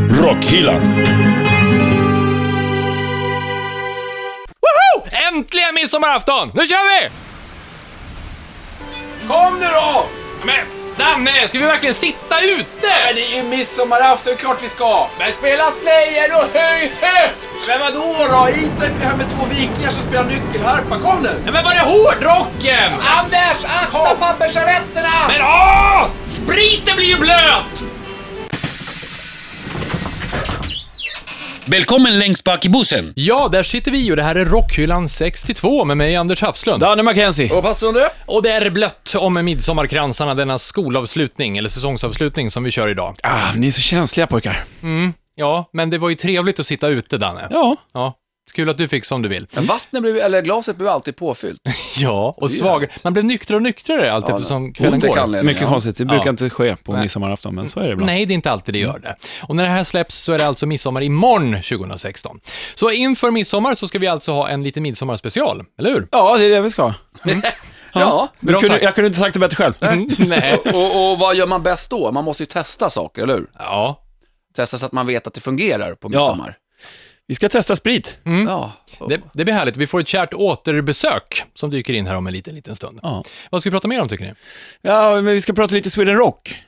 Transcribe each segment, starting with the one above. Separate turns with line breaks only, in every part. Rockhyllan.
Woho! Äntligen midsommarafton! Nu kör vi!
Kom nu då!
Men Danne, ska vi verkligen sitta
Men
ute?
det är ju midsommarafton, klart vi ska!
Men spela slayer och höj högt!
Men vadå då? Hit är vi här med två vikingar som spelar nyckelharpa, kom nu!
Men var är hårdrocken?
Anders, akta pappersservetterna!
Men åh! Spriten blir ju blöt!
Välkommen längst bak i bussen.
Ja, där sitter vi och det här är Rockhyllan 62 med mig Anders Hafslund.
Danne Mackenzie.
Och pastorn du?
Och det är blött om midsommarkransarna denna skolavslutning, eller säsongsavslutning som vi kör idag. Mm,
Ah, ni är så känsliga pojkar.
Ja, men det var ju trevligt att sitta ute Danne.
Ja.
Ja, kul att du fick som du vill.
Vattnet blev, eller glaset blev alltid påfyllt.
Ja, och svag. Man blev nyktrare och nyktrare allt eftersom kvällen
Ont i
går.
kallen,
Mycket
ja.
konstigt. Det brukar
Ja.
inte ske på midsommarafton, men så är det ibland.
Nej, det är inte alltid det gör det. Och när det här släpps så är det alltså midsommar imorgon 2016. Så inför midsommar så ska vi alltså ha en liten midsommarspecial, eller hur?
Ja, det är det vi ska.
Ja,
Du
Bra
kunde,
sagt.
jag kunde inte sagt det bättre själv.
Nej.
och, och, och vad gör man bäst då? Man måste ju testa saker, eller hur?
Ja.
Testa så att man vet att det fungerar på midsommar.
Vi ska testa sprit.
Ja. Och-
Det, det blir härligt. Vi får ett kärt återbesök som dyker in här om en liten, liten stund.
Ja.
Vad ska vi prata mer om tycker ni?
Ja, men vi ska prata lite Sweden Rock.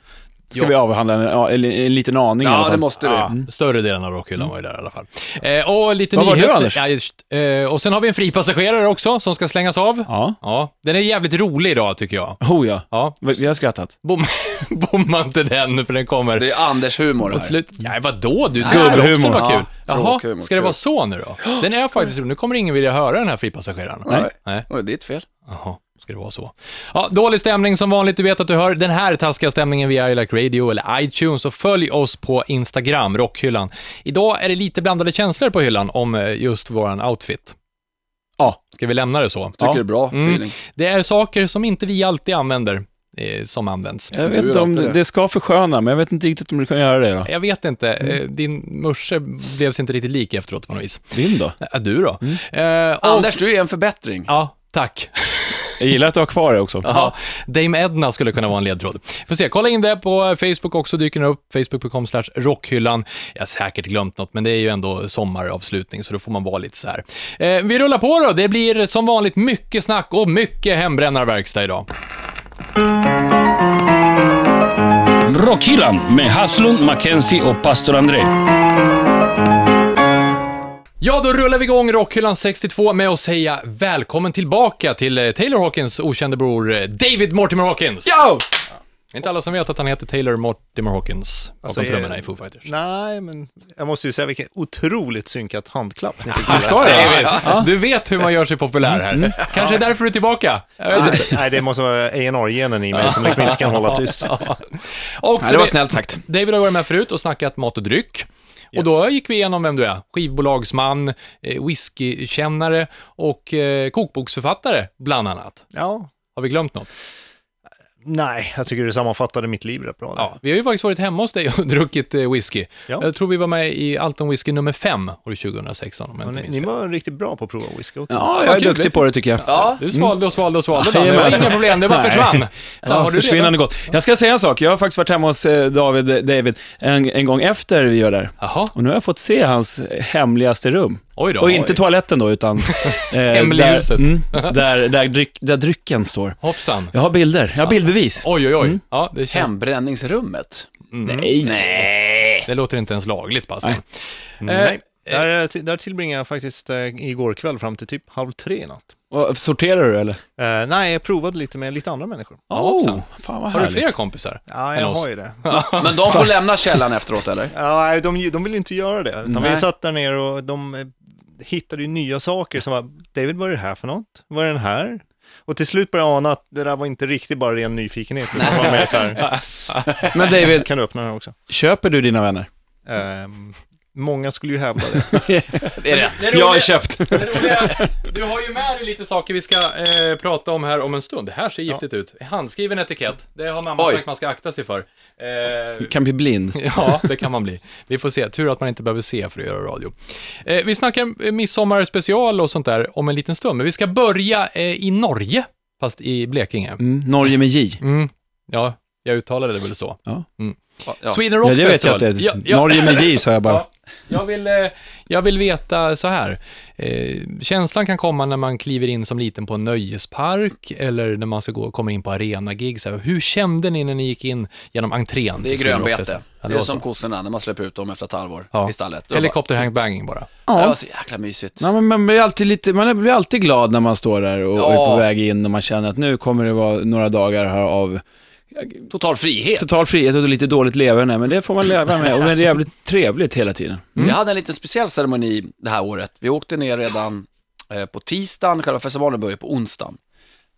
Ska
Ja.
vi avhandla en, ja, en, en liten aning i alla
ja,
fall.
det måste du.
Större delen av rockhyllan var ju där i alla fall. Eh, och lite
Vad var du,
nyheter.
Anders?
Ja, just, eh, och sen har vi en fri passagerare också som ska slängas av.
Ja.
Ja, den är jävligt rolig idag tycker jag.
Oh ja.
Ja,
Vi vi har skrattat.
bom, bomma inte den för den kommer.
Det är Anders humor
Och
här.
till slut, nej vadå du, det
Gubbhumor.
här också var kul.
Ja,
Jaha,
tråkhumor,
ska det
kul.
vara så nu då? Den är faktiskt rolig, nu kommer ingen vilja höra den här fripassageraren.
Nej.
Nej.
Oj, det är ett fel.
Jaha, ska det vara så? Ja, dålig stämning som vanligt, du vet att du hör den här taskiga stämningen via I Like Radio eller iTunes och följ oss på Instagram, Rockhyllan. Idag är det lite blandade känslor på hyllan om eh, just våran outfit.
Ja.
Ska vi lämna det så?
Tycker det är bra
Mm.
feeling.
Det är saker som inte vi alltid använder, eh, som används.
Jag vet
gör
inte om
alltid
det,
det.
det ska försköna, men jag vet inte riktigt om du kan göra det. Då.
Jag vet inte, eh, din morse blev sig inte riktigt lik efteråt på något vis.
Din då?
Ja, Äh, du då? Eh, och-
Anders, du är en förbättring.
Ja, tack.
Jag gillar att du har kvar det också.
Ja, Dame Edna skulle kunna vara en ledtråd. Får se, kolla in det på Facebook också, dyker den upp. Facebook.com slash rockhyllan. Jag har säkert glömt något, men det är ju ändå sommaravslutning, så då får man vara lite så här. Eh, vi rullar på då. Det blir som vanligt mycket snack och mycket hembrännarverkstad idag.
Rockhyllan med Haslund, Mackenzie och pastor André.
Ja, då rullar vi igång Rockhyllan 62 med att säga välkommen tillbaka till eh, Taylor Hawkins okände bror eh, David Mortimer Hawkins.
Yo!
Det är inte alla som vet att han heter Taylor Mortimer Hawkins bakom
Alltså,
trummorna
eh,
i Foo Fighters.
Nej, men jag måste ju säga vilken otroligt synkat handklapp ni fick.
Du ska det, David. Du vet hur man gör sig populär här.
Mm.
Kanske är därför du är tillbaka. Jag vet inte.
Nej, det måste vara A&amppr-genen i mig som liksom inte kan hålla tyst.
Och
Nej, det var snällt sagt.
David har varit med förut och snackat mat och dryck. Och då gick vi igenom vem du är. Skivbolagsman, eh, whiskykännare och eh, kokboksförfattare, bland annat.
Ja,
Har vi glömt något?
nej, jag tycker du sammanfattade mitt liv rätt bra. där.
Ja, vi har ju faktiskt varit hemma hos dig och druckit eh, whisky.
Ja.
Jag tror vi var med i Allt om whisky nummer 5 år 2016, om jag
Och
inte
Ni,
minns
ni
fel.
var riktigt bra på att prova whisky också.
Ja, jag är
kul.
duktig på det tycker jag.
Ja.
Du svalde och svalde och svalde,
Ja,
Dan. Det var
jajamän.
inga problem, det bara
Nej.
försvann. Så,
Ja,
har du
försvinnande
redan-
gott. Jag ska säga en sak. Jag har faktiskt varit hemma hos eh, David, David en, en gång efter vi gör det här.
Jaha,
Och nu har jag fått se hans hemligaste rum.
oj då.
Och inte toaletten då, utan... Eh,
Hemlighuset.
Där, där, där, dryck, där drycken står.
Hoppsan.
Jag har bilder. Jag har bildbevis.
Oj, oj, oj.
Mm.
Ja, det, känns,
Hembränningsrummet.
Nej.
det låter inte ens lagligt, pastorn.
Nej, där, eh, till- där tillbringade jag faktiskt eh, igår kväll fram till typ halv tre i natt.
Och, sorterar du eller?
Eh, nej, jag provade lite med lite andra människor.
Oh, fan vad
Har du
härligt.
fler kompisar?
Ja,
Än
jag
oss.
har ju det.
Men de får lämna källan efteråt, eller?
Ja, nej, de, de vill ju inte göra det. Utan vi
Nej.
satt där nere och de eh, hittade ju nya saker som var, David, vad är det här för något? Vad är den här? Och till slut började jag ana att det där var inte riktigt bara ren nyfikenhet. utan Det var mer så här,
Men David,
kan du öppna den här också?
köper du dina vänner?
Ehm, många skulle ju hävda det.
Det är rätt.
Det
Jag har
roliga-
köpt.
det roliga- Du har ju med dig lite saker vi ska eh, prata om här om en stund. Det här ser giftigt ut. Handskriven etikett. Det har mamma
Oj.
sagt man ska akta sig för. Eh,
Kan bli blind.
Ja, det kan man bli. Vi får se. Tur att man inte behöver se för att göra radio. Eh, vi snackar eh, midsommarspecial och sånt där om en liten stund, men vi ska börja eh, i Norge, fast i Blekinge.
Mm, Norge med J.
Mm. Ja, jag uttalade det väl så.
Ja.
Mm.
Ja.
Sweden Rock
Ja, det vet jag
Festival.
att det är.
Ja, ja.
Norge med J, sa jag bara.
Ja, jag, vill, eh, jag vill veta så här. Eh, känslan kan komma när man kliver in som liten på en nöjespark eller när man ska gå, kommer in på arenagig. Så här. Hur kände ni när ni gick in genom entrén?
Det är
till Sweden Rock
grönbete.
Festival? Ja,
det är
var
som
så.
kossorna när man släpper ut dem efter ett halvår
Ja.
i stallet. Då
Helikopter hangbanging bara.
bara- Det var så jäkla mysigt.
Nej, men man, blir alltid lite, man blir alltid glad när man står där och
Ja.
är på väg in och man känner att nu kommer det vara några dagar här av
Total frihet.
total frihet och lite dåligt leverne, men det får man leva med och det är jävligt trevligt hela tiden.
Vi hade en liten speciell ceremoni det här året. Vi åkte ner redan eh, på tisdagen, själva festivalen började på onsdagen.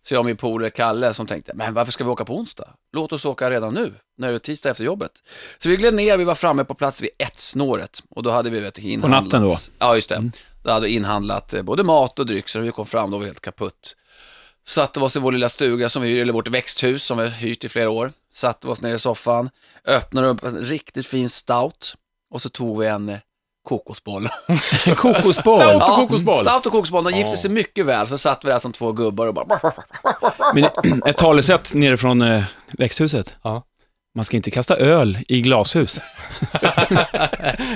Så jag och min polare Kalle som tänkte, men varför ska vi åka på onsdag? Låt oss åka redan nu, när det är tisdag efter jobbet. Så vi gled ner, vi var framme på plats vid ett-snåret och då hade vi vet, inhandlat.
natten då? Mm.
Ja, just det. Då hade vi inhandlat eh, både mat och dryck, så när vi kom fram då var vi helt kaputt. Satte oss i vår lilla stuga, som vi, eller vårt växthus som vi har hyrt i flera år. Satte oss ner i soffan, öppnade upp en riktigt fin stout och så tog vi en eh, kokosboll.
Kokosboll!
Stout och kokosboll.
Stout och kokosboll, de gifte sig mycket väl, så satt vi där som två gubbar och bara...
Men ett talesätt nerifrån eh, växthuset.
Ja.
Man ska inte kasta öl i glashus.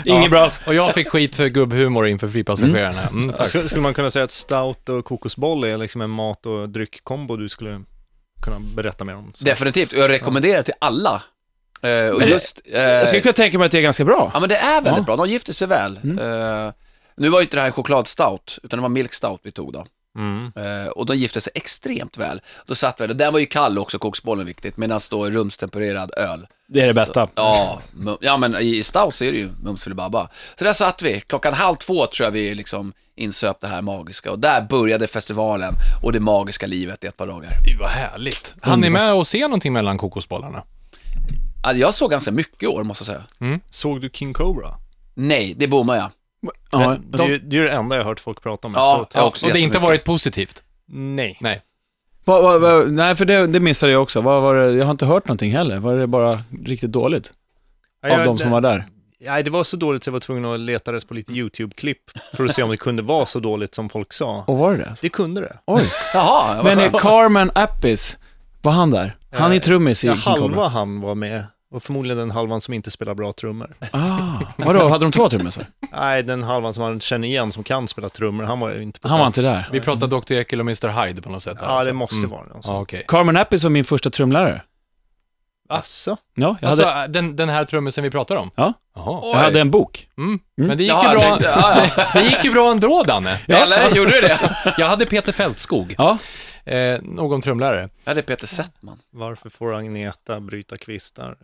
Inget
Ja.
bra.
Och jag fick skit för gubbhumor inför flygpassagerarna. Mm, tack.
Skulle skulle man kunna säga att stout och kokosboll är liksom en mat och dryckkombo du skulle kunna berätta mer om? Så-
Definitivt, och jag rekommenderar till alla. Eh, och just, eh,
Jag skulle kunna Mm. tänka mig att det är ganska bra.
Ja men det är väldigt bra, de gifter sig väl. Eh, nu var ju inte det här en chokladstout, utan det var milk stout vi tog då.
Mm.
Eh, och de gifte sig extremt väl. Då satt vi, och den var ju kall också, kokosbollen viktigt, medan då rumstempererad öl.
Det är det bästa.
Ja, mu- ja men i stout så är det ju mums filibabba. Så där satt vi, klockan halv två tror jag vi liksom insöp det här magiska och där började festivalen och det magiska livet i ett par dagar.
Gud, vad härligt. Han är
Mm.
med och se någonting mellan kokosbollarna?
Alltså, jag såg ganska mycket i år måste jag säga.
Såg du King Cobra?
Nej, det bommade jag.
Ja,
Det, är ju- det är ju det enda jag har hört folk prata om
Ja,
efteråt.
jag också.
Och det har inte
jättemycket.
varit positivt?
Nej.
Nej.
Vad- vad- vad- nej, för det, det missade jag också. Vad var det, jag har inte hört någonting heller. Var det bara riktigt dåligt
Ja,
av
jag-
de som var där?
Nej, det var så dåligt så jag var tvungen att leta rätt på lite
Mm.
YouTube-klipp för att se om det kunde vara så dåligt som folk sa.
Och var det det?
Det kunde det.
Oj.
Jaha, vad
Men är
skönt.
Carmen Appis, var han där? Han är trummis i
Ja,
King Cobra.
halva han var med och förmodligen den halvan som inte spelar bra trummor.
Ah, vadå, hade de två trummisar?
Nej, den halvan som man känner igen som kan spela trummor, han var ju inte på
Han var
plats.
inte där. Alltså,
Vi pratar Dr. Jekyll och Mr. Hyde på något sätt. här
Ja,
också.
det måste
Mm.
vara någon sån.
Ja, okej.
Carmen Appis var min första trumlärare.
Asså?
Ja, jag,
Alltså,
hade,
den, den här trummisen vi pratar om?
Ja.
Jaha.
jag hade en bok.
Mm. Men det gick,
Jaha,
ju
jag
bra,
tänkte, ja, ja.
det gick ju bra ändå, Danne.
Eller, gjorde du det?
Jag hade Peter Fältskog,
Ja.
eh, någon trumlärare.
Ja, det är Peter Settman.
Varför får Agneta bryta kvistar?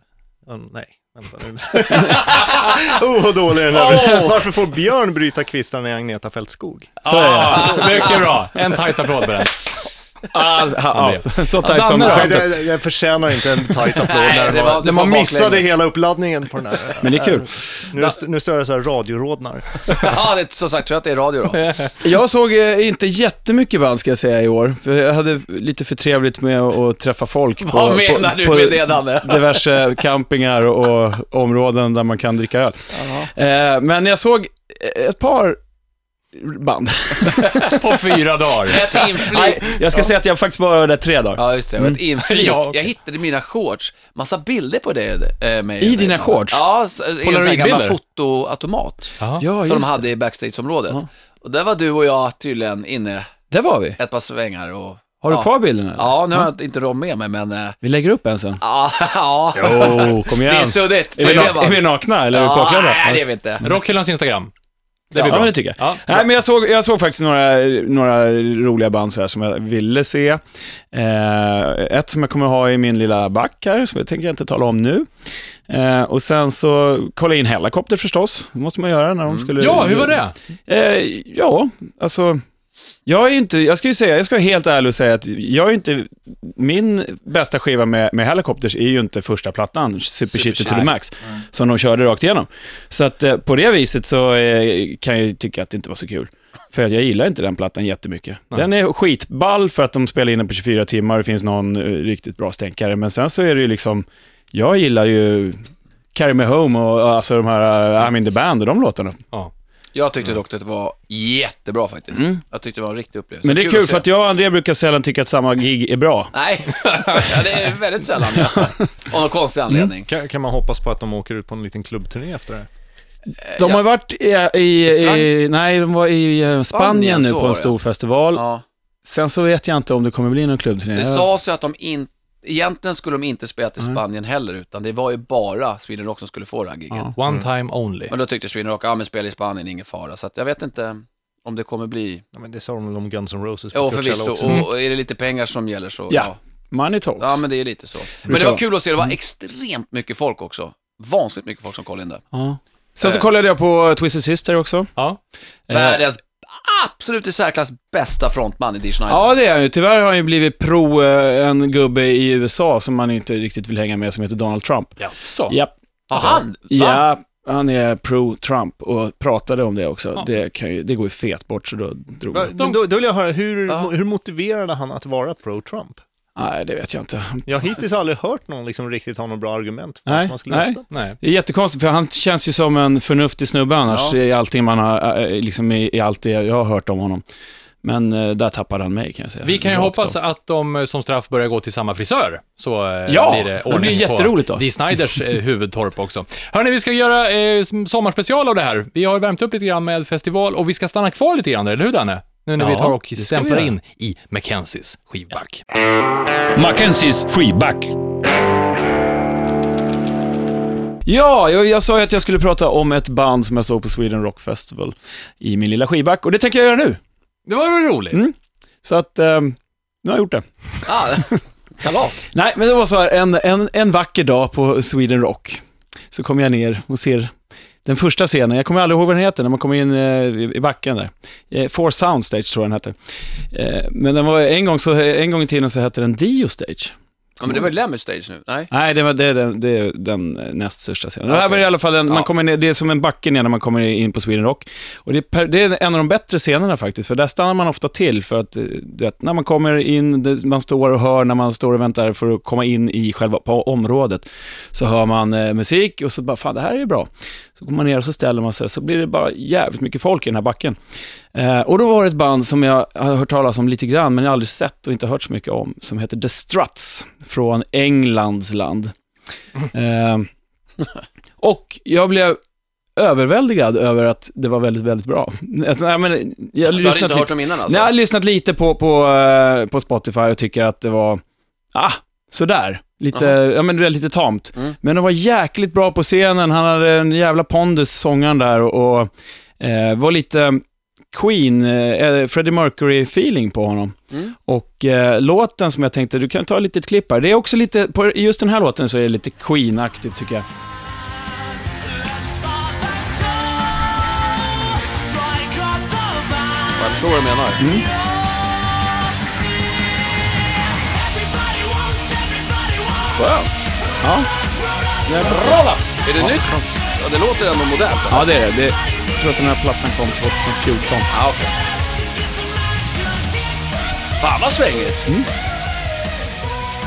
Ja, nej, vänta nu. oh, vad dålig den här.
Åh!
Varför får Björn bryta kvistar när Agneta Fältskog?
Så är det.
Ah, mycket bra. En tajt applåd på den.
Ah, ah, ah, så tajt som
Danne då?
Nej,
skämtet.
det, jag förtjänar inte en tight applåd
Nej,
när
det
det
var-
var,
det var
man missade
baklänges.
hela uppladdningen på den här.
Men det är kul.
Nu, st- nu står det så här radiorodnar.
Ja, det, är- som sagt, tror jag att det är radio då.
Jag såg eh, inte jättemycket band ska jag säga i år. För jag hade lite för trevligt med att träffa folk på,
Vad menar
på,
du
på
med det, Danne?
diverse campingar och områden där man kan dricka öl. Eh, men jag såg ett par band.
På fyra dagar.
Ett inflyg.
Jag ska säga att jag faktiskt bara var där tre dagar.
Ja, just det. Och ett inflik.
Ja, okej.
Jag hittade mina shorts. Massa bilder på det. Eh, med,
I dina shorts?
Ja, så- i en sån här gammal
Polaroidbilder?
fotoautomat.
Ja.
Ja,
som
just
de
det.
hade i backstageområdet. Och där var du och jag tydligen inne
Där var vi.
ett par svängar och...
Har du
ja.
kvar bilden eller?
Ja, nu har jag inte Rom med mig, men... eh,
Vi lägger upp en sen.
Ja, ja.
Oh, kom
Det
igen.
är suddigt.
Är
Det
vi,
ser
na-
man.
är vi nakna eller är vi
Ja,
påklädda?
Nej, det vet jag inte.
Rockhyllans Instagram. Det blir
ja,
bra.
men det tycker jag.
Ja.
Nej, men jag, såg, jag såg faktiskt några, några roliga band så här som jag ville se. Eh, ett som jag kommer ha i min lilla back här, som jag tänker jag inte tala om nu. Eh, och sen så kolla in Hellacopter förstås. Det måste man göra när de skulle...
Mm. Ja, hur var det?
Eh, ja, alltså... Jag är ju inte, jag ska ju säga, jag ska vara helt ärlig och säga att jag är ju inte, min bästa skiva med, med Helicopters är ju inte första plattan, Super Shitty to the Max, som de körde rakt igenom. Så att eh, på det viset så eh, kan jag ju tycka att det inte var så kul. För att jag gillar inte den plattan jättemycket. Den är skitball för att de spelar in den på 24 timmar och det finns någon eh, riktigt bra stänkare. Men sen så är det ju liksom, jag gillar ju Carry Me Home och, och alltså de här eh, I'm In The Band och de låtarna.
Ja.
Jag tyckte dock att det var jättebra faktiskt. Jag tyckte det var en riktig upplevelse.
Mm. Men det är kul för att
se.
jag och André brukar sällan tycka att samma gig är bra.
Nej, ja, det är väldigt sällan. Ja. Av någon konstig anledning.
Kan, kan man hoppas på att de åker ut på en liten klubbturné efter det?
Eh,
De har varit i, i, i, nej, de var i eh, Spanien,
Spanien,
nu
så
på
var
en
det.
stor festival.
Ja.
Sen så vet jag inte om det kommer bli någon klubbturné.
Det
Jag-
sades ju att de inte, egentligen skulle de inte spela till Spanien heller, utan det var ju bara Sweden Rock som skulle få det här giget.
Ja.
One time only.
Men då tyckte Sweden Rock, ja men spela i Spanien, ingen fara. Så att jag vet inte om det kommer bli,
Ja, men det sa de väl om Guns N' Roses på
ja
Coachella
förvisso,
också.
och, och är det lite pengar som gäller så,
Mm. Ja. Money talks.
Ja, men det är lite så. Men det
Brukar Mm.
var kul att se, det var extremt mycket folk också. Vansinnigt mycket folk som kollade in där.
Ja. Sen
Eh.
så kollade jag på Twisted Sister också.
Ja.
Eh.
Världens absolut i särklass bästa frontman i Dee Schneider.
Ja, det är han ju. Tyvärr har han ju blivit pro eh, en gubbe i USA som man inte riktigt vill hänga med, som heter Donald Trump.
Jaså?
Japp.
Har han? Va?
Ja, han är pro-Trump och pratade om det också. Det, kan ju, det går ju fet bort, så då drog
Va,
han.
men då, då vill jag höra, hur,
Ja.
hur motiverade han att vara pro-Trump?
Nej, det vet jag inte.
Jag har hittills aldrig hört någon liksom riktigt ha något bra argument för
Nej,
att man skulle
nej.
rösta.
Nej.
Det är jättekonstigt, för han känns ju som en förnuftig snubbe annars,
Ja.
i allting man har, eh, liksom i, i allt det jag har hört om honom. Men eh, där tappade han mig, kan jag säga.
Vi kan ju
Rakt
hoppas
av.
att de eh, som straff börjar gå till samma frisör. Så eh,
Ja,
blir det
det
ordning
blir jätteroligt då.
på Dee Sniders eh, huvudtorp också. Hörni, vi ska göra eh, som- sommarspecial av det här. Vi har ju värmt upp lite grann med festival och vi ska stanna kvar lite grann, eller hur Danne? Nu när vi
Ja,
tar och
det ska vi
stämplar
göra.
in i Mackenzies skivback.
Mackenzies freeback.
Ja, jag, jag sa ju att jag skulle prata om ett band som jag såg på Sweden Rock Festival i min lilla skivback, och det tänker jag göra nu.
Det var väl roligt?
Mm. Så att, eh, nu har jag gjort det.
Ah, kalas.
Nej, men det var så här, en, en, en vacker dag på Sweden Rock så kommer jag ner och ser den första scenen, jag kommer aldrig ihåg vad den heter, när man kommer in eh, i- i backen där. Eh, Four Soundstage tror jag den hette. Eh, Men den var, en, gång så, en gång i tiden så hette den Dio Stage.
Ja, men det var ju Lemmy Stage nu. Nej.
Nej, det, var, det, är den, det är den eh, näst största scenen. Det här
Okej.
var i alla fall en,
Ja.
man kommer ner, det är som en backe ner när man kommer in på Sweden Rock. Och det, är per, det är en av de bättre scenerna faktiskt, för där stannar man ofta till för att eh, du vet, när man kommer in, det, man står och hör, när man står och väntar för att komma in i själva på området, så hör man eh, musik och så bara, fan det här är ju bra. Så går man ner och så ställer man sig, så blir det bara jävligt mycket folk i den här backen. Eh, och då var det ett band som jag har hört talas om lite grann, men jag har aldrig sett och inte hört så mycket om, som heter The Struts, från Englands land. Eh, och jag blev överväldigad över att det var väldigt, väldigt bra. Att, nej, men, jag typ
Du hade inte
lyssnat
hört
lite,
dem innan alltså?
nej, jag har lyssnat lite på, på, eh, på Spotify och tycker att det var, ah, sådär. Lite,
Jaha.
ja, men det är lite tamt.
Mm.
Men de var jäkligt bra på scenen, han hade en jävla pondus, sångaren där, och, och eh, var lite Queen, eh, Freddie Mercury-feeling på honom.
Mm.
Och eh, låten som jag tänkte, du kan ta ett litet klipp här. Det är också lite, på i just den här låten så är det lite Queen-aktigt tycker jag.
Jag förstår vad du menar.
Det är bra va?
Är det nytt? Ja, det låter ändå modernt.
Ja, det är det. det. Jag tror att den här plattan kom 2014.
Ah, okay. Fan vad svängigt.
Mm.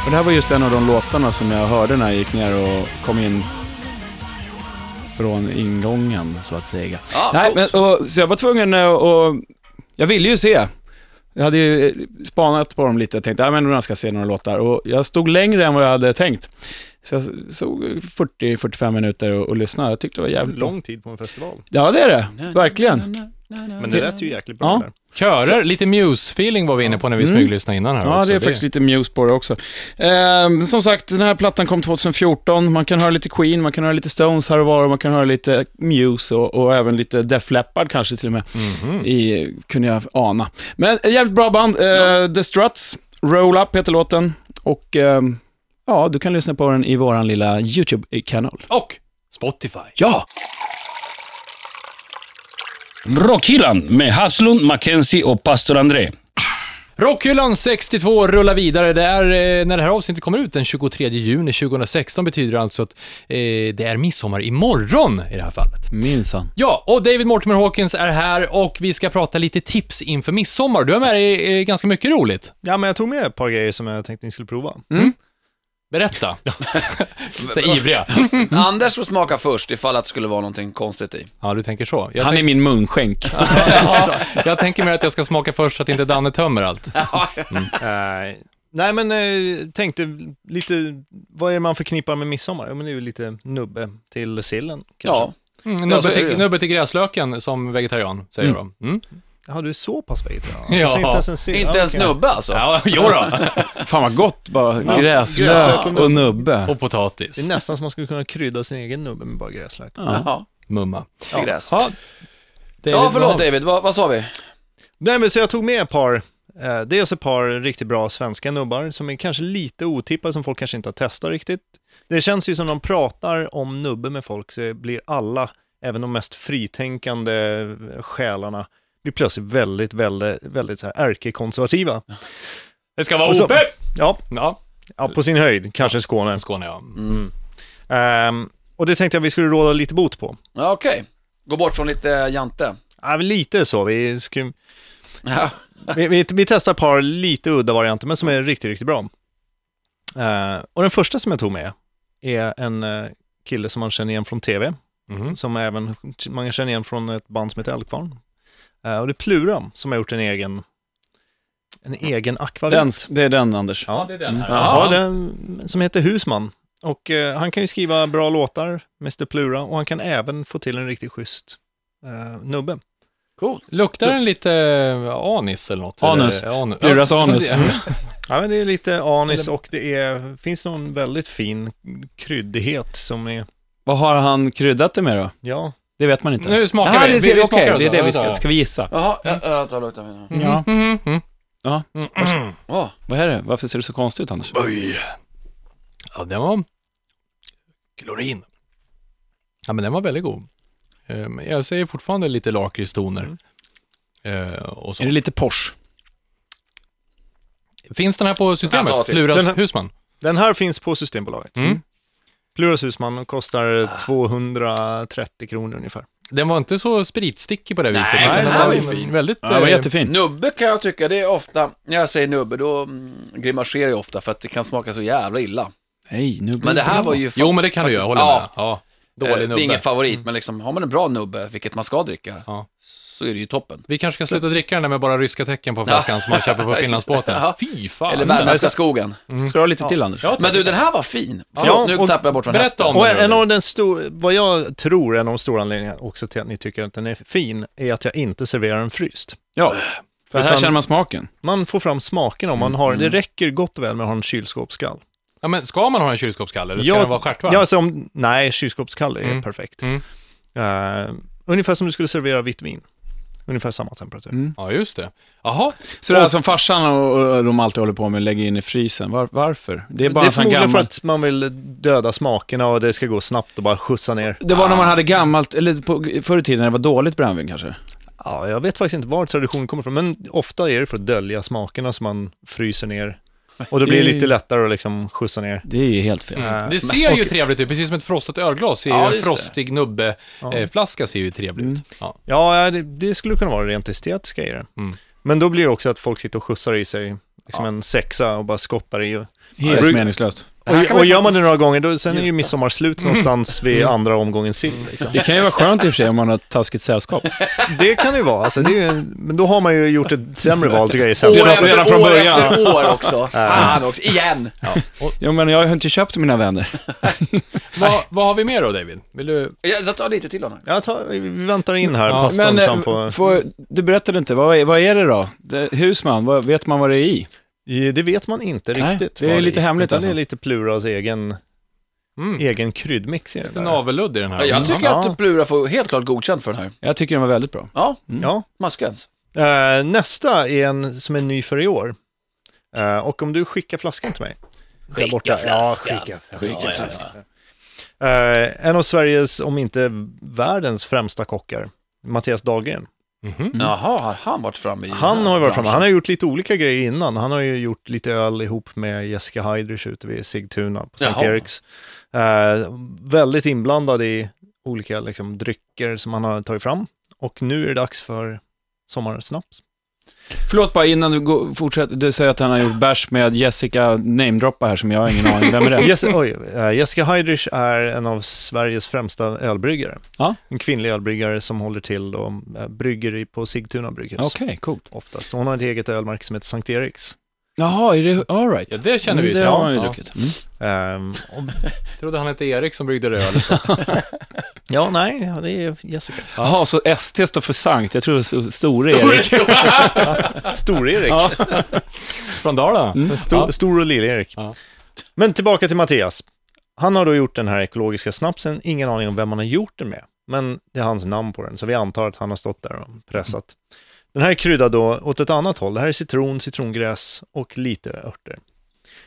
Och det här var just en av de låtarna som jag hörde när jag gick ner och kom in från ingången, så att säga.
Ja,
Nej, men,
coolt.
och, så jag var tvungen eh, och Jag ville ju se. Jag hade ju eh, spanat på dem lite och tänkte, ja men jag ska se några låtar. Och jag stod längre än vad jag hade tänkt. Så jag såg 40-45 minuter och, och lyssnade. Jag tyckte det var jävligt långt.
Lång tid på en festival.
Ja, det är det. Verkligen.
Men det lät ju jäkligt bra
Ja.
där.
Körer, lite Muse-feeling var vi inne på när vi smyglyssnade innan här
Mm. Ja,
också.
det är faktiskt lite Muse på det också. Ehm, som sagt, den här plattan kom 2014. Man kan höra lite Queen, man kan höra lite Stones här och var, och man kan höra lite Muse och, och även lite Def Leppard kanske till och med,
Mhm.
i, kunde jag ana. Men ett jävligt bra band. Eh, The Struts, Roll Up heter låten. Och ehm, ja, du kan lyssna på den i vår lilla YouTube-kanal.
Och Spotify.
Ja!
Rockhyllan med Haslund, Mackenzie och pastor André.
Rockhyllan 62 rullar vidare. Det är, eh, när det här avsnittet kommer ut den 23 juni 2016 betyder det alltså att eh, det är midsommar imorgon i det här fallet.
Minsann.
Ja, och David Mortimer Hawkins är här och vi ska prata lite tips inför midsommar. Du har med dig eh, ganska mycket roligt.
Ja, men jag tog med ett par grejer som jag tänkte ni skulle prova.
Berätta. Så ivriga.
Anders får smaka först ifall att det skulle vara någonting konstigt i.
Ja, du tänker så. Jag,
Han är
tänk,
min munskänk.
jag tänker mer att jag ska smaka först så att inte Danne tömmer allt.
Nej. Nej, men eh, tänkte lite, vad är det man förknippar med midsommar? Ja, men det är ju lite nubbe till sillen kanske.
Ja,
Ja.
Mm,
Ja, så är
nubbe,
det
till,
ju.
nubbe till gräslöken som vegetarian, säger de. Mm.
Har du är så pass vegetarian?
Ja.
Så inte ens en sill?
inte
Ja,
ens
okej.
nubbe alltså.
Ja, jo då.
Fan vad gott, bara gräslök
gräslök och
och nubbe.
Och
Det är
potatis.
nästan som man skulle kunna krydda sin egen nubbe med bara gräslök.
Ja,
Mumma.
det är gräs.
Ja,
Ja, förlåt David, vad, vad sa vi?
Nej, men så jag tog med ett par, eh, dels ett par riktigt bra svenska nubbar som är kanske lite otippade, som folk kanske inte har testat riktigt. Det känns ju som de pratar om nubbe med folk så blir alla, även de mest fritänkande själarna, blir plötsligt väldigt, väldigt, väldigt så här ärkekonservativa.
Det ska vara
Och så-
OP!
Ja,
Ja,
ja, på sin höjd, kanske Skåne. Mm.
Skåne ja.
Ehm, och det tänkte jag vi skulle råda lite bot på.
Ja, okej. Gå bort från lite jante.
Ja, men lite så, vi, skulle,
Ja.
vi, vi, vi testar ett par lite udda varianter, men som är riktigt, riktigt bra. Eh, och den första som jag tog med är en eh, kille som man känner igen från tv,
Mhm.
som även man känner igen från ett band som heter Eldkvarn. Eh, och det är Pluram som har gjort en egen, en egen akvavit.
Den, det är den, Anders.
Ja, det är den här.
Ja,
Jaha.
den som heter Husman. Och eh, han kan ju skriva bra låtar, Mr Plura, och han kan även få till en riktigt schysst eh, nubbe.
Coolt.
Luktar den lite eh, anis eller något?
Anus.
Eller, anu-
Pluras anus.
Ja, men det är lite anis och det är, finns någon väldigt fin kryddighet som är,
Vad har han kryddat det med då?
ja.
Det vet man inte.
Nu smakar vi.
Det,
Vi- vi
det, okej,
smakar
det är det vi
alltså.
ska, ska vi gissa?
Jaha, jag, jag tar och luktar mina.
Ja.
Mhm, mhm. Mm.
Åh,
Vad är det? Varför ser det så konstigt ut, Anders?
Oj. Ja, den var... Klorin. Ja, men den var väldigt god. Ehm, Jag säger fortfarande lite lakritstoner. Eh, Och så.
Är det lite Porsche?
Finns den här på systemet?
Jag tar till.
Pluras
Den här-
Husman?
Den här finns på Systembolaget.
Mm. Ah.
Pluras Husman och kostar 230 kronor ungefär.
Den var inte så spritstickig på det viset.
den
utan
här var ju
en
fin.
Väldigt,
Ja, det var
eh,
jättefint.
Nubbe kan jag tycka, det är ofta, när jag säger nubbe då mm, grimaserar jag ofta för att det kan smaka så jävla illa.
Nej, nu blir
Men det här
bra.
var ju... fa-
Mm. Jo, men det kan du ju, jag håller
ja,
med. Ja,
eh,
dålig
Det är
nubbe. Mm.
ingen favorit, men liksom, har man en bra nubbe, vilket man ska dricka,
Ja.
så är det ju toppen.
Vi kanske ska sluta dricka den där med bara ryska tecken på flaskan som man köper på Finlandsbåten.
Ja.
Fy fan.
Eller värmländska skogen.
Ska du ha lite till, Anders?
Ja,
Men du, den här var fin. Förlåt, nu
och-
tappade jag bort vad den
Berätta
hette.
om
Och
den.
en av den stor, vad jag tror är en av de stora anledningarna också till att ni tycker att den är fin, är att jag inte serverar den fryst.
Ja, för här
Utan-
känner man smaken.
Man får fram smaken om man
Mm,
har, det räcker gott och väl med att ha en kylskåpsskall.
Ja, men ska man ha en kylskåpskalle eller ska
Ja,
den vara stjärtvarm?
Ja, alltså om, nej, kylskåpskall är perfekt.
Mm.
Eh, ungefär som du skulle servera vitt vin. Ungefär samma temperatur.
Ja, just det. Jaha,
Så det här som farsan och, och de alltid håller på med, lägger in i frysen. Var, varför? Det är bara
det är
en sån
förmodligen
gammal...
för att man vill döda smakerna och det ska gå snabbt och bara skjutsa ner.
Det var när man hade gammalt, eller på, förr i tiden när det var dåligt brännvin kanske.
Ja, jag vet faktiskt inte var traditionen kommer ifrån, men ofta är det för att dölja smakerna som man fryser ner. Och då blir det
Det är-
lite lättare att liksom skjutsa ner.
Det är ju helt fel.
Eh,
det ser ju trevligt ut. Precis som ett frostat ölglas. Är
Ja,
ju en
just det.
frostig nubbeflaska ser ju trevligt
Mm.
ut. Ja.
Ja, ja, det, det skulle kunna vara rent estetiska i det.
Mm.
Men då blir det också att folk sitter och skjutsar i sig liksom en sexa och bara skottar i. Och,
Helt
Bruk-
meningslöst.
och, och gör man det några gånger, då, sen är ju midsommar slut någonstans vid andra omgången sill. Liksom.
Det kan ju vara skönt i och för sig om man har ett taskigt sällskap.
Det kan det ju vara, alltså, det är ju, men då har man ju gjort ett sämre val tycker jag i
År
sällskap.
efter
redan från
år
början.
efter år också. Han också, igen.
Jo, men jag har ju inte köpt mina vänner.
Vad, vad har vi mer då, David? Vill du...
Jag jag tar lite till honom.
Jag tar, vi väntar in här
Ja,
pastan
Men eh,
fram på...
får, du berättade inte, vad är, vad är det då? Det, husman, vad, vet man vad det är i?
Eh, Det vet man inte
Nej,
riktigt.
det är
vad
lite
i.
hemligt
Utan Det är
alltså.
lite Pluras egen,
Mm.
egen kryddmix i det
Lite
där.
navelludd i den här.
Ja, Jag
Mm.
tycker
Ja.
att Plura får helt klart godkänt för den här.
Jag tycker den var väldigt bra.
Ja,
Ja.
maskens.
Mm. Eh, nästa är en som är ny för i år. Eh, och om du skickar flaskan till mig. Skicka borta. flaskan. Ja, skicka, skicka flaskan. Eh, en av Sveriges, om inte världens främsta kockar, Mattias Dahlgren.
Mhm.
Jaha, har han varit framme i
Han
den
har
här
ju varit framme.
branschen?
Han har gjort lite olika grejer innan. Han har ju gjort lite öl ihop med Jessica Heidrich ute vid Sigtuna på Sankt
Jaha.
Eriks. Eh, väldigt inblandad i olika liksom, drycker som han har tagit fram. Och nu är det dags för sommarsnaps.
Förlåt bara innan du går, fortsätter, du säger att han har gjort bärs med Jessica namedroppa här som jag har ingen aning vem är det?
Jess, oj, eh, Jessica Heidrich är en av Sveriges främsta ölbryggare.
Ja.
En kvinnlig ölbryggare som håller till då, eh, brygger i- på Sigtuna brygghus.
Okej, coolt.
Oftast. Hon har ett eget ölmärke som heter Sankt Eriks.
Jaha, är det, all right.
Ja, det känner vi ju
Det
till.
har han ju
Ja.
druckit. Mm.
Ehm, och,
Trodde han hette Erik som bryggde det ölet.
ja, nej, ja, det är Jessica.
Jaha, så ST står för Sankt, jag tror det Store Erik.
Stor-Erik.
Ja.
Från Dalarna.
Mm.
Stor,
Ja.
stor och lill-Erik.
Ja.
Men tillbaka till Mattias. Han har då gjort den här ekologiska snapsen, ingen aning om vem han har gjort den med, men det är hans namn på den, så vi antar att han har stått där och pressat. Den här är kryddad då åt ett annat håll, det här är citron, citrongräs och lite örter.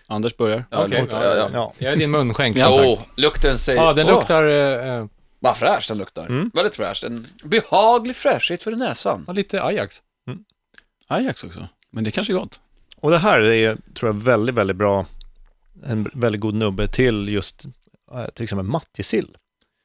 Anders börjar.
Ja,
Okej,
luktar- ja, ja.
Ja.
Jag är din munskänk som
Ja,
sagt.
åh, lukten säger...
Ja, den
åh,
luktar... eh, eh,
Vad fräsch den luktar.
Mm.
Väldigt fräsch. En behaglig fräschhet för näsan.
ja, lite Ajax.
Ajax också. Men det kanske är gott.
Och det här är, tror jag, väldigt, väldigt bra, en väldigt god nubbe till just eh, till exempel mattjesill.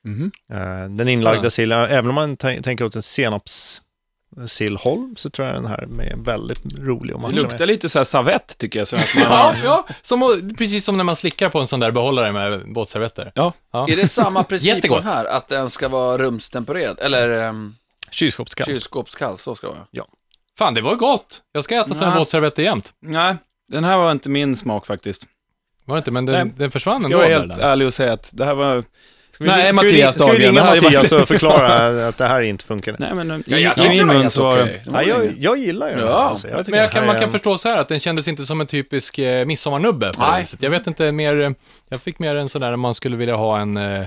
Mhm.
Eh, Den inlagda
Ja.
sillen, även om man tän- tänker åt en senapssillhåll, så tror jag den här är väldigt rolig att
Det
matcha med.
luktar lite så här savett tycker jag. Så att man,
Ja, ja. Mm. Som, att- precis som när man slickar på en sån där behållare med båtservetter.
ja.
Är det samma princip på
Jättegott.
den här? Att den ska vara rumstempererad? Eller um,
Kylskåpskall.
kylskåpskall, så ska det vara.
Fan, det var gott. Jag ska äta såna
Nej.
båtservetter jämt.
Nej, den här var inte min smak faktiskt.
Var det inte? Men
Nej.
den, den försvann
Ska
ändå.
jag vara
där,
helt
där.
ärlig och säga att det här var...
Ska vi,
Nej,
ska vi-
Mattias
ska vi
Dahlgren,
ringa
det här är
Mattias
bara-
och förklara att det här inte funkar?
Nej, men i,
Ja, jag
i
tycker det
min
var
mun
helt
så var
okej.
det...
Det var
Nej, jag,
inget.
jag gillar ju den här.
Ja,
Alltså. Jag tycker
Men jag
den här
kan, man
är
kan
en-
förstå så här att den kändes inte som en typisk eh, midsommarnubbe på det
Nej.
viset. Jag vet inte mer, eh, jag fick mer en sån där om man skulle vilja ha en, eh,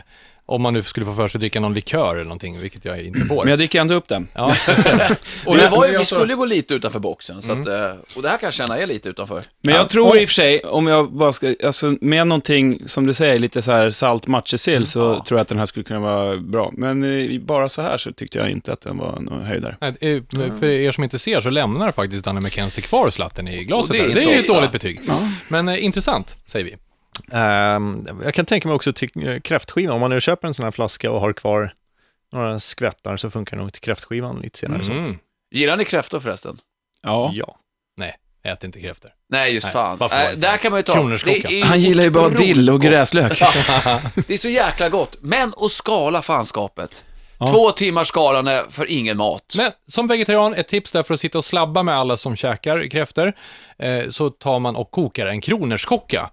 om man nu skulle få för sig att dricka någon likör eller någonting, vilket jag inte får.
Men jag dricker ändå upp den.
Ja, jag ser det.
Och det var
men
ju,
jag Mm.
vi
så-
skulle ju gå lite utanför boxen. Så att, eh, och det här kan jag känna är lite utanför.
Men jag tror i och för sig, om jag bara ska, alltså med någonting som du säger, lite så här salt matjessill, så tror jag att den här skulle kunna vara bra. Men eh, bara så här så tyckte jag inte att den var någon höjdare.
Nej, eh, För er som inte ser så lämnar faktiskt Danne McKenzie kvar slatten i glaset.
Och
Det
det är inte
är, det är ju ett
ofta.
dåligt betyg. Men eh, intressant, säger vi.
Ehm, jag kan tänka mig också till eh, kräftskivan, om man nu köper en sån här flaska och har kvar några skvättar så funkar det nog till kräftskivan lite senare. Så.
Mm.
Gillar ni kräftor förresten?
Ja.
Ja.
Ät inte kräftor.
Nej, just
Nej,
fan.
varför var
Nej,
det
där
inte?
kan man ju ta...
Kronerskocka.
Det är
Han gillar ju bara
otroligt
dill och
gott.
gräslök.
Det är så jäkla gott. Men och skala fanskapet. Två timmars skalande för ingen mat.
Men som vegetarian, ett tips där för att sitta och slabba med alla som käkar kräftor, eh, så tar man och kokar en kronerskocka.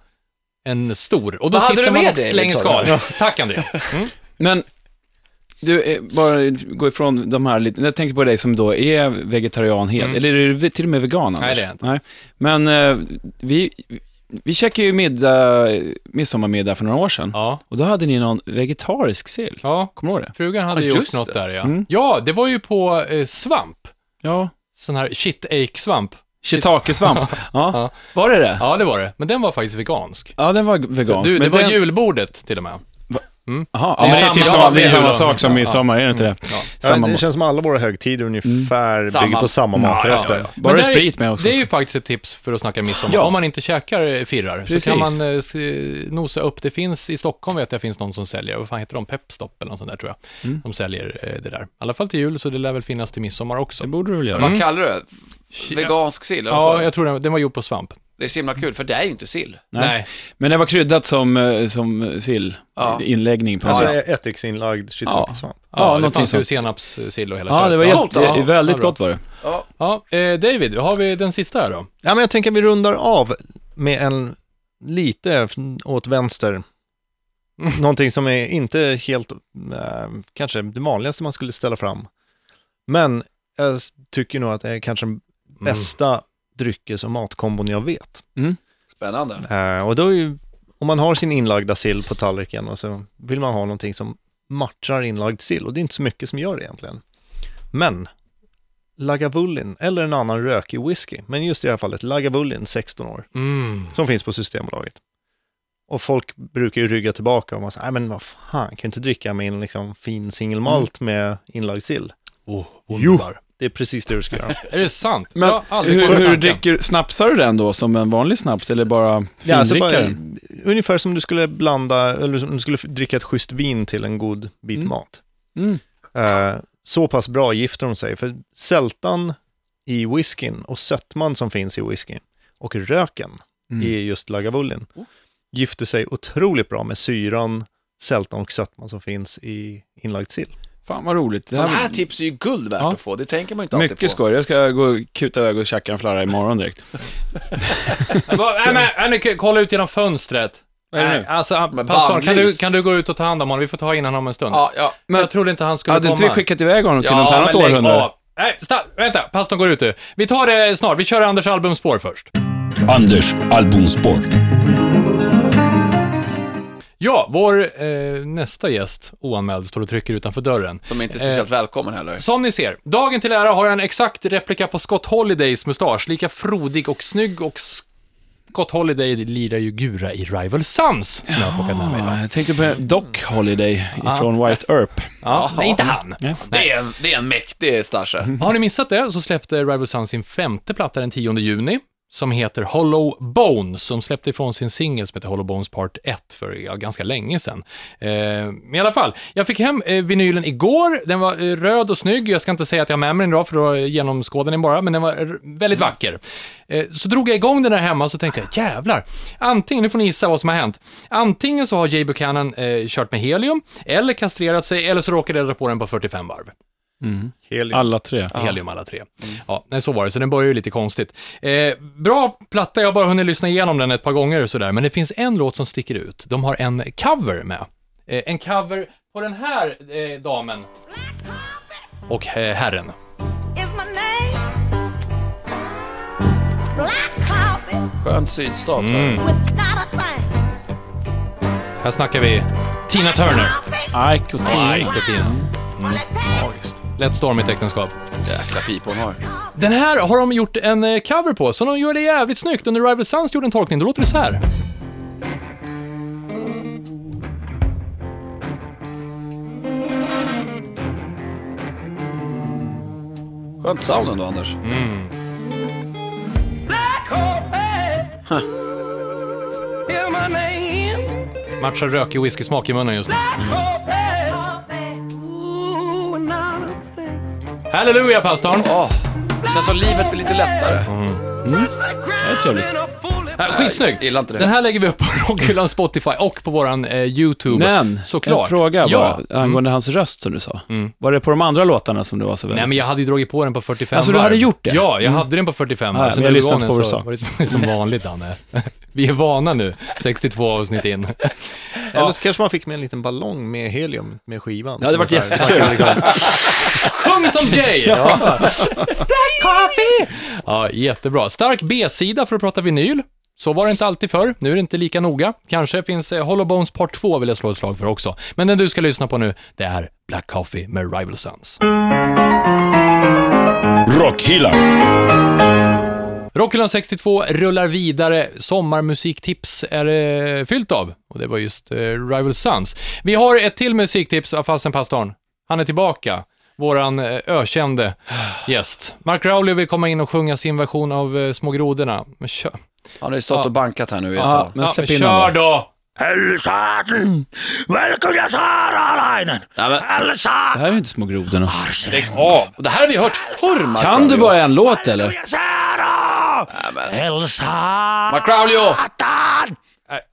En stor. Och då
Vad hade
sitter
du
man
med
och
dig, liksom?
slänger
Alexander?
skal. Tack André. Mm.
Men, du, eh, bara gå ifrån de här lite. Jag tänker på dig som då är vegetarian helt,
Mm.
eller är du ve- till och med vegan annars?
Nej, det är jag inte.
Nej. Men eh, vi, vi käkade ju middag, midsommarmiddag för några år sedan.
Ja,
Och då hade ni någon vegetarisk sill.
ja.
Kommer du ihåg det?
Frugan hade
Ja,
gjort
just
något
det.
där ja.
Mm.
Ja, det var ju på eh, svamp.
Ja.
Sån här shit-ache-svamp.
Shiitake-svamp. ja. Var det det?
Ja, det var det. Men den var faktiskt vegansk.
Ja, den var vegansk.
Du, det
men
var
den...
julbordet till och med.
Jaha,
det
ja,
är
men det är
samma-
typ
ja,
samma,
det är
det är samma
julen.
sak som midsommar, är det inte det?
Ja,
Samma
det
mat. Mm.
känns som alla våra högtider ungefär bygger
Samma-
på samma maträtter.
Bara
Men
det är
där är-
sprit med också.
Det är ju faktiskt ett tips för att snacka midsommar.
Ja.
Om man inte käkar eh, firrar
Precis.
så kan man eh, s- eh, nosa upp. Det finns i Stockholm vet jag finns någon som säljer, vad fan heter de, Pepstop eller något sånt där tror jag.
Mm.
De säljer eh, det där. I alla fall till jul så det lär väl finnas till midsommar också.
Det borde du väl göra?
Vad kallar du det? Vegansk sill? eller vad sa
Mm. Ja,
du?
jag tror den, den var gjord på svamp.
Det är så himla kul, för det är ju inte sill.
Nej. Men det var kryddat som, eh, som eh, sill,
Ja.
inläggning på något
Alltså
sätt.
ättiksinlagd shiitake-svamp.
eh, Ja,
Ja,
det
någonting
fanns
sånt.
ju senapssill och hela
Ja, det var
köret.
jätte,
Coolt, ja.
det är väldigt
Ja, bra.
gott var det.
Ja.
ja, eh, David, har vi den sista här då?
Ja, men jag tänker att vi rundar av med en lite åt vänster. Någonting som är inte helt, eh, kanske det vanligaste man skulle ställa fram. Men jag s- tycker nog att det är kanske den bästa dryckes och matkombon jag vet.
Spännande.
Eh, och då är ju, om man har sin inlagda sill på tallriken och så vill man ha någonting som matchar inlagd sill och det är inte så mycket som gör det egentligen. Men Lagavulin eller en annan rökig whisky, men just i det här fallet Lagavulin 16 år
Mm.
som finns på Systembolaget. Och folk brukar ju rygga tillbaka och man säger, nej men vad fan, kan jag inte dricka min liksom, fin singelmalt med inlagd sill?
Oh,
Jo. Det är precis det du ska göra.
Är det sant?
Men
Jag har aldrig
hur,
kommit på
hur
tanken.
dricker, snapsar du den då som en vanlig snaps eller bara
ja, alltså
findrickare?
bara, ungefär som du skulle blanda, eller som du skulle dricka ett schysst vin till en god bit mat.
Mm.
Eh, så pass bra gifter de sig, för sältan i whiskyn och sötman som finns i whiskyn och röken
Mm.
i just Lagavulin
Oh.
gifter sig otroligt bra med syran, sältan och sötman som finns i inlagd sill.
Fan vad roligt. Det
Sådana
här-
här tips är ju guld värt
Ja.
att få. Det tänker man ju inte alltid på.
mycket skoj. Jag ska gå och kuta iväg och käka en flarra imorgon direkt.
Va, nej, men, Annika, kolla ut genom fönstret.
Vad är det nu?
Nej, alltså, han-
Men
pastorn, kan du,
bannlyst.
kan du gå ut och ta hand om honom? Vi får ta in honom om en stund.
Ja, ja.
men, jag trodde inte han skulle
Hade
komma.
inte vi skickat iväg honom till något
men
annat
lägg
århundrade?
av. Nej, sta, vänta. Pastorn går ut nu. Vi tar det snart. Vi kör Anders albumspår först.
Anders albumspår.
Ja, vår eh, nästa gäst, oanmäld, står och trycker utanför dörren.
Som inte är speciellt
Eh.
välkommen heller.
Som ni ser, dagen till ära har jag en exakt replika på Scott Holidays mustasch, lika frodig och snygg och Scott Holiday lirar ju Gura i Rival Sons, som jag har plockat med mig.
Ja, Jag tänkte på Doc Holiday ifrån White Earp.
Ja, nej, inte han.
Det är, en, det är en mäktig
Mm.
stasche.
Har ni missat det så släppte Rival Sons sin femte platta den 10 juni som heter Hollow Bones, som släppte ifrån sin singel som heter Hollow Bones Part 1 för ja, ganska länge sedan. Eh, men i alla fall, jag fick hem eh, vinylen igår, den var eh, röd och snygg, jag ska inte säga att jag har med mig den idag för då genomskådar ni bara, men den var eh, väldigt vacker. Eh, så drog jag igång den här hemma och så tänkte jag, jävlar, antingen, nu får ni gissa vad som har hänt, antingen så har Jay Buchanan eh, kört med helium, eller kastrerat sig, eller så råkade jag dra på den på 45 varv
Helium.
Alla tre.
helium alla tre. Ja, nej, så var det, så den börjar ju lite konstigt. Eh, bra platta, jag har bara hunnit lyssna igenom den ett par gånger och sådär, men det finns en låt som sticker ut. De har en cover med. Eh, en cover på den här eh, damen
Black coffee
och eh, herren.
is my name. Black coffee
Skön sydstat. Mm.
with not a thing.
Här snackar vi Tina Turner.
Coffee.
Ike och Tina.
Ike och Tina.
Well, it takes
Lätt stormigt äktenskap.
Jäkla pipa hon har.
Den här har de gjort en eh, cover på, så de gör det jävligt snyggt. Och när Rival Sons gjorde en tolkning, då låter det så här.
Skönt sound ändå, Anders.
Matchar rökig whiskysmak i munnen just nu. Halleluja, pastorn!
Åh, det känns som livet blir lite lättare.
Det är trevligt.
Äh, skitsnygg!
Jag gillar inte det.
Den här lägger vi upp på Rockhyllan Spotify och på våran eh, YouTube.
Men,
såklart.
en fråga
ja. Mm.
bara, angående hans röst som du sa. Var det på de andra låtarna som du var så väldigt...
Nej, men jag hade ju dragit på den på 45
Alltså, du
varv.
hade gjort det?
Ja, jag hade den på 45
Ja,
varv.
men
Så
jag
när du
lyssnade
gav
inte
den
på vad du
så
sa.
Var det som, som vanligt, Danne. Vi är vana nu, 62 avsnitt in.
Eller så kanske man fick med en liten ballong med helium med skivan.
det hade varit
Så här-
jättekul.
Sjung som Jay! Black coffee! Ja, jättebra. Stark B-sida för att prata vinyl. Så var det inte alltid förr, nu är det inte lika noga. Kanske finns eh, Hollow Bones Part 2 vill jag slå ett slag för också. Men den du ska lyssna på nu, det är Black Coffee med Rival Sons.
Rockhyllan.
Rockhyllan 62 rullar vidare. Sommarmusiktips är det fyllt av. Och det var just eh, Rival Sons. Vi har ett till musiktips av Fasen Pastorn. Han är tillbaka. Våran eh, ökände gäst. Mark Rowley vill komma in och sjunga sin version av eh, Små grodorna. Men kör,
Han har ju stått
Ja.
och bankat här nu i ett
Ja,
tag.
men släpp
ja,
in
kör
honom
då!
Helsaaten! Välkomna Saaralainen!
Det
Helsaaten!
här är ju inte Små grodorna.
Och det här har vi hört förr, Mark
Kan du bara en låt eller?
Saara! Helsaaten!
Macraulio!
Äh,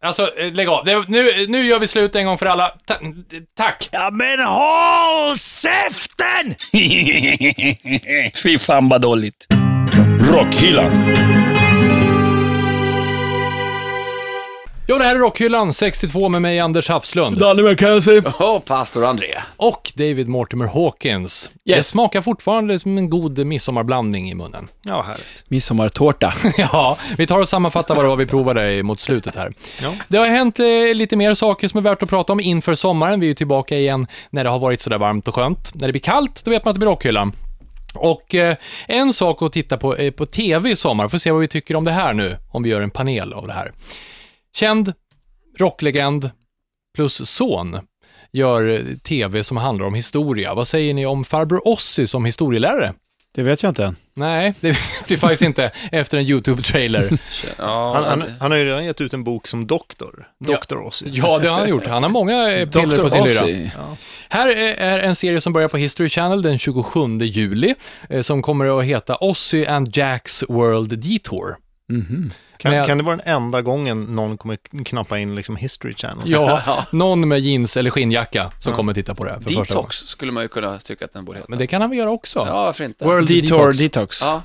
Alltså, eh, lägg av. Det, nu, nu gör vi slut en gång för alla. Ta, eh, tack!
Ja men håll käften!
Fy fan vad dåligt. Rockhyllan.
Ja, det här är Rockhyllan 62 med mig, Anders Hafslund.
Danny McKenzie.
Åh, pastor André.
och David Mortimer Hawkins. Det smakar fortfarande som en god midsommarblandning i munnen.
Ja, härligt.
Midsommartårta.
ja, vi tar och sammanfattar vad det var vi provade i- mot slutet här. Det har hänt eh, lite mer saker som är värt att prata om inför sommaren. Vi är ju tillbaka igen när det har varit sådär varmt och skönt. När det blir kallt, då vet man att det blir rockhyllan. Och eh, en sak att titta på eh, på TV i sommar, får se vad vi tycker om det här nu, om vi gör en panel av det här. Känd rocklegend plus son gör eh, TV som handlar om historia. Vad säger ni om farbror Ossi som historielärare?
Det vet jag inte än.
Nej, det vet vi faktiskt inte efter en YouTube-trailer.
Ja,
Han, han,
det-
han har ju redan gett ut en bok som doktor, Dr. Ozzy.
Ja, det har han gjort. Han har många eh, piller
Dr.
på sin lyra.
Ozzy.
Här är är en serie som börjar på History Channel den 27 juli, eh, som kommer att heta Ozzy and Jacks World Detour.
Kan,
Men-
kan det vara den enda gången någon kommer knappa in liksom History Channel?
Ja, någon med jeans eller skinnjacka som kommer att titta på det här för första gången.
Detox skulle man ju kunna tycka att den borde heta.
Men det kan han väl göra också?
Ja, varför inte?
World
Detour
Detox.
Detox.
Ja,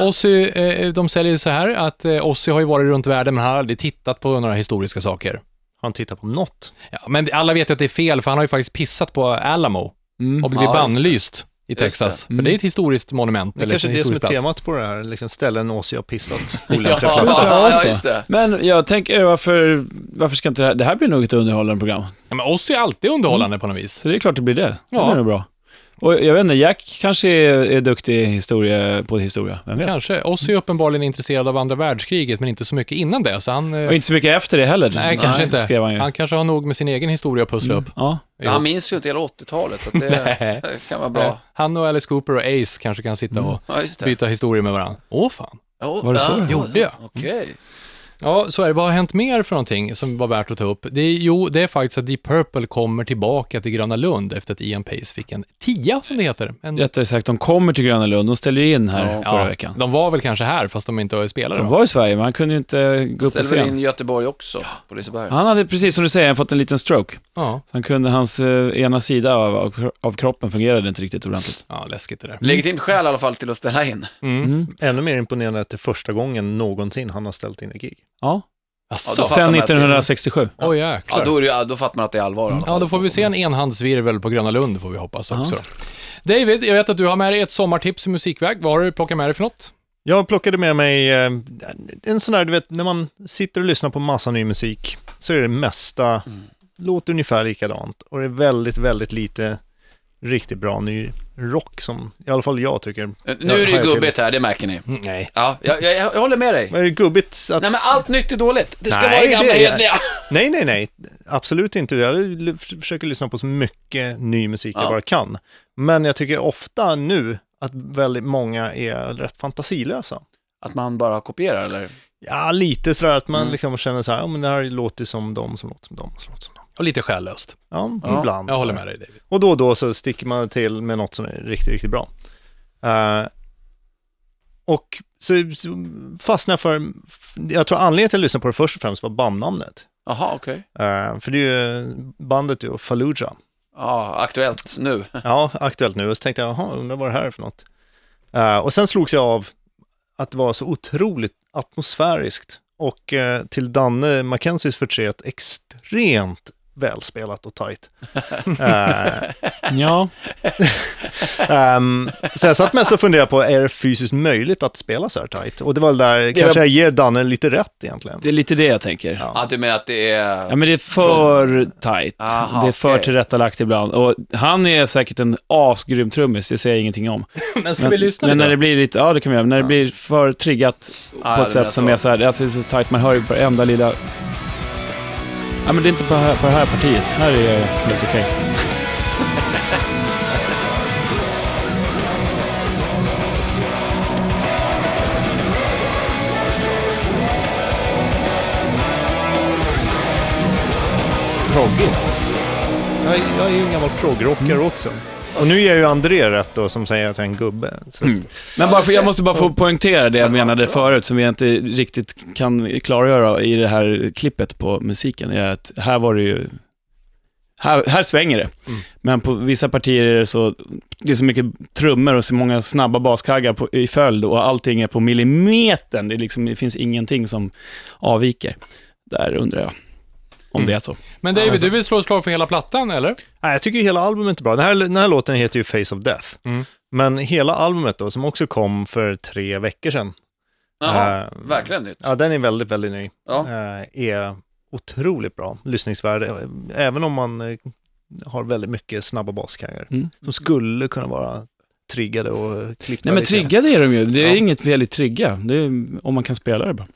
Ozzy, eh, de säger så här att eh, Ozzy har ju varit runt världen men han har aldrig tittat på några historiska saker.
Han tittar på något.
Ja, men alla vet ju att det är fel för han har ju faktiskt pissat på Alamo och
Mm.
blivit
Ja, just det.
bannlyst i
Just det. Mm.
Texas. För det är ett historiskt monument.
Det är kanske är
ett
det som är
historiskt plats.
temat på det här, liksom ställen Ozzy har pissat.
ja,
Olämpliga
ja,
platser.
ja, just det.
Men jag tänker, eh, varför, varför ska inte det här... Det här blir nog ett underhållande program.
Ja, men Ozzy är alltid underhållande
Mm.
på något vis.
Så det är klart det blir det. Det
Ja.
blir nog bra. Och jag vet inte, Jack kanske är, är duktig i historia, på historia. Vem vet?
Kanske. Ozzy är uppenbarligen intresserad av andra världskriget, men inte så mycket innan det. Så han, eh,
Och inte så mycket efter det heller.
nej, kanske inte.
Skrev han ju. Mm.
kanske har nog med sin egen historia att pussla upp.
Ja.
Men Han minns ju inte hela 80-talet, så att det,
Nej.
det kan vara
Eh,
bra.
Han och Alice Cooper och Ace kanske kan sitta
Mm.
och
Ja, just det.
byta historier med varandra. Åh fan.
Oh,
Var det så?
Gjorde jag? Mm.
Okej.
Ja, så är det. Vad har hänt mer för någonting som var värt att ta upp? Det är, jo, det är faktiskt att Deep Purple kommer tillbaka till Gröna Lund efter att Ian Pace fick en tia, som det heter. En,
Rättare sagt, de kommer till Gröna Lund. De ställer ju in här
Ja.
förra veckan.
De var väl kanske här, fast de inte spelade.
De
då.
var i Sverige, men han kunde ju inte gå upp på
Ställer väl
scen.
in Göteborg också, på Liseberg.
Han hade, precis som du säger, fått en liten stroke.
Ja,
Så han kunde, hans eh, ena sida av, av- av kroppen fungerade inte riktigt ordentligt.
ja, läskigt det där.
Legitimt skäl i alla fall till att ställa in.
Ännu mer imponerande att det är första gången någonsin han har ställt in ett gig.
Ja.
Jaså?
då- fattar
Sen
man att
1967.
Oj,
Ja,
jäklar.
då, är det, ju- ja, då fattar man att det är allvar i alla fall.
Ja, då får vi se en enhandsvirvel på Gröna Lund, får vi hoppas också. då. David, jag vet att du har med dig ett sommartips i musikväg. Vad har du plockat med dig för något?
Jag plockade med mig eh, en sån där, du vet, när man sitter och lyssnar på massa ny musik så är det mesta,
Mm.
låter ungefär likadant och det är väldigt, väldigt lite riktigt bra ny rock som i alla fall jag tycker.
Nu är det
Har
ju
jag
gubbigt här, det märker ni.
Mm, Nej.
Ja, jag, jag, jag håller med dig.
fel? Är det gubbigt att...
Nej, men allt nytt är dåligt. Det ska
Nej,
vara det gamla
det är-
hederliga.
Nej, nej, nej. Absolut inte. Jag l- försöker lyssna på så mycket ny musik
Ja.
jag bara kan. Men jag tycker ofta nu att väldigt många är rätt fantasilösa.
Att man bara kopierar, eller?
Ja, lite sådär att man
Mm.
liksom känner så här, ja men det här låter som de som låter som de som låter som de.
Och lite själlöst.
Ja,
Ja,
ibland.
Jag håller
sådär.
med dig, David.
Och då och då så sticker man till med något som är riktigt, riktigt bra. Eh, och så, så fastnar jag för, jag tror anledningen till att jag lyssnade på det först och främst var bandnamnet.
Jaha, okej.
Eh, för det är ju, bandet är ju Fallujah.
Ja, aktuellt nu.
Ja, aktuellt nu. Och så tänkte jag, jaha, undrar vad det här är för något. Eh, och sen slogs jag av att det var så otroligt atmosfäriskt och eh, till Danne Mackenzies förtret extremt välspelat och tajt. Eh,
Ja.
ehm, så jag satt mest och funderade på, är det fysiskt möjligt att spela så här tajt? Och det var väl där, kanske jag ger Danne lite rätt egentligen.
Det är lite det jag tänker.
Ja.
Att du menar att det är...
Ja, men det är för tight.
Aha,
det är för
okej.
tillrättalagt ibland. Och han är säkert en asgrym trummis, det säger jag ingenting om.
Men ska
Men,
vi lyssna
men när
lite?
det blir lite, ja det kan vi göra, när det blir för triggat
ja,
på
du
ett sätt
menar
som
så.
är så här, alltså det är så tight, man hör ju varenda lilla... Ja men det är inte på, här, på det här partiet, här är det helt okej. Proggigt.
Jag, jag är ju en gammal proggrockare också. Mm. Och nu ger ju André rätt då, som säger att jag är en gubbe. Så att-
Men bara för, jag måste bara få poängtera det jag menade förut, som jag inte riktigt kan klargöra i det här klippet på musiken, är att här var det ju... Här, här svänger det. Men på vissa partier är det så, det är så mycket trummor och så många snabba baskaggar på, i följd och allting är på millimetern. Det, är liksom, det finns ingenting som avviker. Där undrar jag om det är så.
Men David, du vill slå ett slag för hela plattan, eller?
Nej, jag tycker ju hela albumet är bra. Den här, den här låten heter ju Face of Death.
Mm.
Men hela albumet då, som också kom för tre veckor sedan,
Jaha,
Eh,
verkligen nytt.
ja, den är väldigt, väldigt ny,
Ja.
Eh, är otroligt bra lyssningsvärde, även om man eh, har väldigt mycket snabba baskarriärer
Mm.
som skulle kunna vara triggade och klippta
Nej men
lite.
triggade är de ju. Det är
Ja.
inget fel i trigga. Det är, om man kan spela det bra.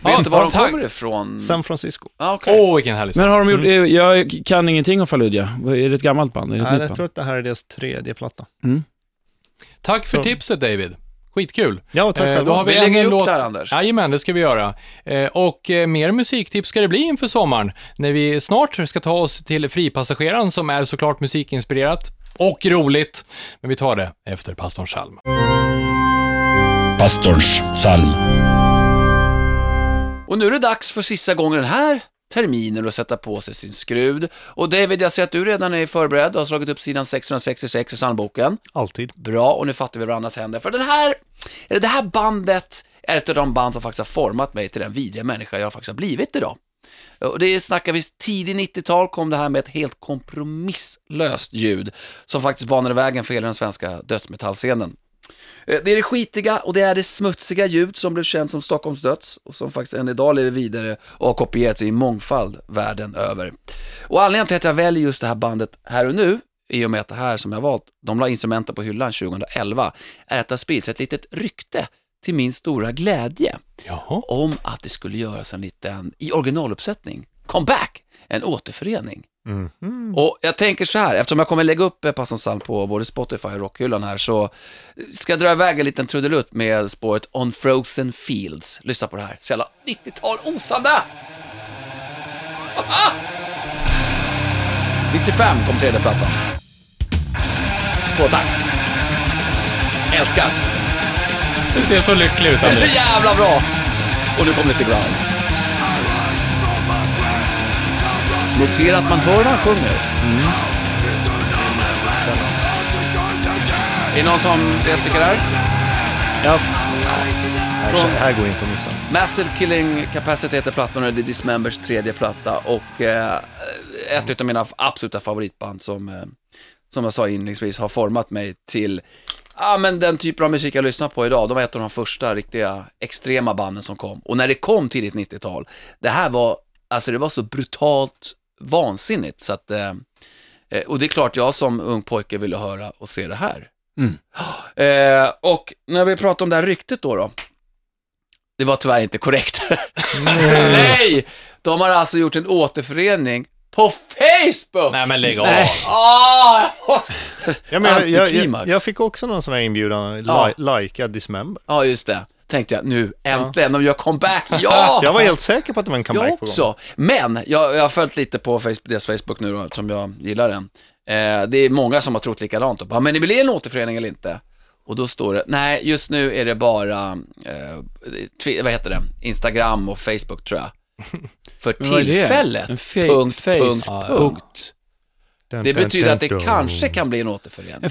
Vet
Ja,
inte var de
tack.
kommer ifrån?
San Francisco.
Ah, okej.
Åh, vilken härlig
Men har de gjort, eh, jag kan ingenting om Fallujah. Vad- Är det ett gammalt band? Är det ett
Nej,
nytt
jag
band?
tror att det här är deras tredje platta.
Tack för
Så-
tipset David. Skitkul.
Ja, tack själva.
då har vi,
Vi
ännu
lägger
en
upp
låt...
det här, Anders.
Jajamän, det ska vi göra. Eh, och eh, mer musiktips ska det bli inför sommaren, när vi snart ska ta oss till Fripassageraren som är såklart musikinspirerat och roligt. Men vi tar det efter pastorns psalm.
Pastorns psalm.
Och nu är det dags för sista gången den här terminen att sätta på sig sin skrud. Och David, jag ser att du redan är förberedd och har slagit upp sidan 666 i psalmboken.
Alltid.
Bra, och nu fattar vi varandras händer. För den här, eller det här bandet är ett av de band som faktiskt har format mig till den vidriga människa jag faktiskt har blivit idag. Och det snackar vi tidigt 90-tal kom det här med ett helt kompromisslöst ljud som faktiskt banade vägen för hela den svenska dödsmetallscenen. Eh, Det är det skitiga och det är det smutsiga ljud som blev känt som Stockholms döds och som faktiskt än idag lever vidare och har kopierats i mångfald världen över. Och anledningen till att jag väljer just det här bandet här och nu, i och med att det här som jag valt, de la instrumenten på hyllan 2011, är att det har spridits ett litet rykte till min stora glädje
Jaha.
om att det skulle göras en liten, i originaluppsättning, comeback, en återförening. Och jag tänker så här, eftersom jag kommer lägga upp eh, Pastorns psalm på både Spotify och Rockhyllan här, så ska jag dra iväg en liten trudelutt med spåret On Frozen Fields. Lyssna på det här, så jävla 90-tal osande! Ah! 95 kom tredje plattan. Tvåtakt. Älskat.
Du ser så lycklig ut
Det är så
Anders.
jävla bra! Och nu kommer lite growl. Notera att man hör när han sjunger. Mm. Är det någon som vet vilka det är?
Ja.
Från
Det här går inte att missa.
Massive Killing Capacity heter plattan och det är Dismembers tredje platta och eh, ett av mina absoluta favoritband som, eh, som jag sa inledningsvis har format mig till Ja men den typen av musik jag lyssnar på idag, de var ett av de första riktiga extrema banden som kom. Och när det kom tidigt 90-tal, det här var, alltså det var så brutalt vansinnigt så att, eh, eh, och det är klart jag som ung pojke ville höra och se det här. Mm. Eh, och när vi pratar om det här ryktet då då, det var tyvärr inte korrekt. Nej! De har alltså gjort en återförening på Facebook!
Nej men lägg av.
Ah, jag måste-
Ja, men jag, jag,
Antiklimax.
jag, jag fick också någon sån här inbjudan,
Ja.
ja. Laika Dismember.
Ja, just det. Tänkte jag, nu äntligen, de gör comeback. Ja!
Jag var helt säker på att det var en comeback
Ah. jag
på gång.
också. Men jag, jag har följt lite på Facebook, deras Facebook nu då, som jag gillar den. Eh, det är många som har trott likadant. Och bara, men det blir en återförening eller inte? Och då står det, nej, just nu är det bara, eh, twi- vad heter det, Instagram och Facebook tror jag. För
Men vad är det?
tillfället,
En fe-
punkt, punkt,
face-
punkt.
Dun,
Det
dun,
betyder
dun,
att det
dun.
kanske kan bli en återförening.
En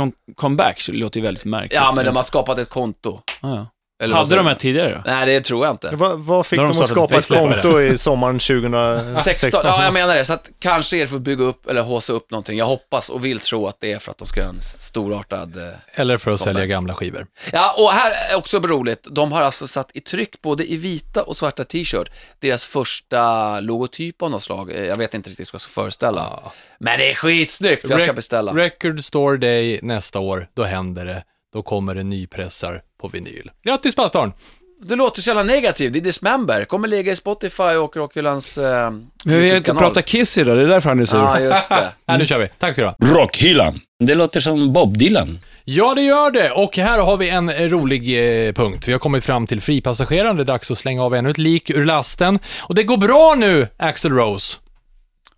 Facebook-comeback låter ju väldigt märkligt.
Ja, men de har skapat ett konto.
Ah, ja.
Eller vad
Hade
säger
de här
du?
tidigare då?
Nej, det tror jag inte.
Vad, vad fick
När
de
de
att
startade
skapa ett
Facebook, var det?
konto i sommaren 2016?
16, ja jag menar det. Så att kanske är det för att bygga upp eller håsa upp någonting. Jag hoppas och vill tro att det är för att de ska göra en storartad... eh,
Eller för att sälja gamla skivor.
Ja, och här är också roligt. De har alltså satt i tryck både i vita och svarta t-shirt, deras första logotyp av något slag. Eh, Jag vet inte riktigt vad jag ska föreställa. Men det är skitsnyggt, så jag ska
Rec-
beställa.
Record Store Day nästa år, då händer det. Då kommer det nypressar på vinyl. Grattis pastorn! Äh,
Du låter så jävla negativ. Det är Dismember. Kommer ligga i Spotify och Rockhyllans eh,
Men vi har inte
YouTube-kanal.
pratat Kiss idag, det är därför han är sur.
Ja, just det.
Nej, nu kör vi. Tack ska du ha.
Rockhyllan. Det låter som Bob Dylan.
Ja, det gör det. Och här har vi en eh, rolig eh, punkt. Vi har kommit fram till fripassageraren. Det är dags att slänga av ännu ett lik ur lasten. Och det går bra nu, Axel Rose.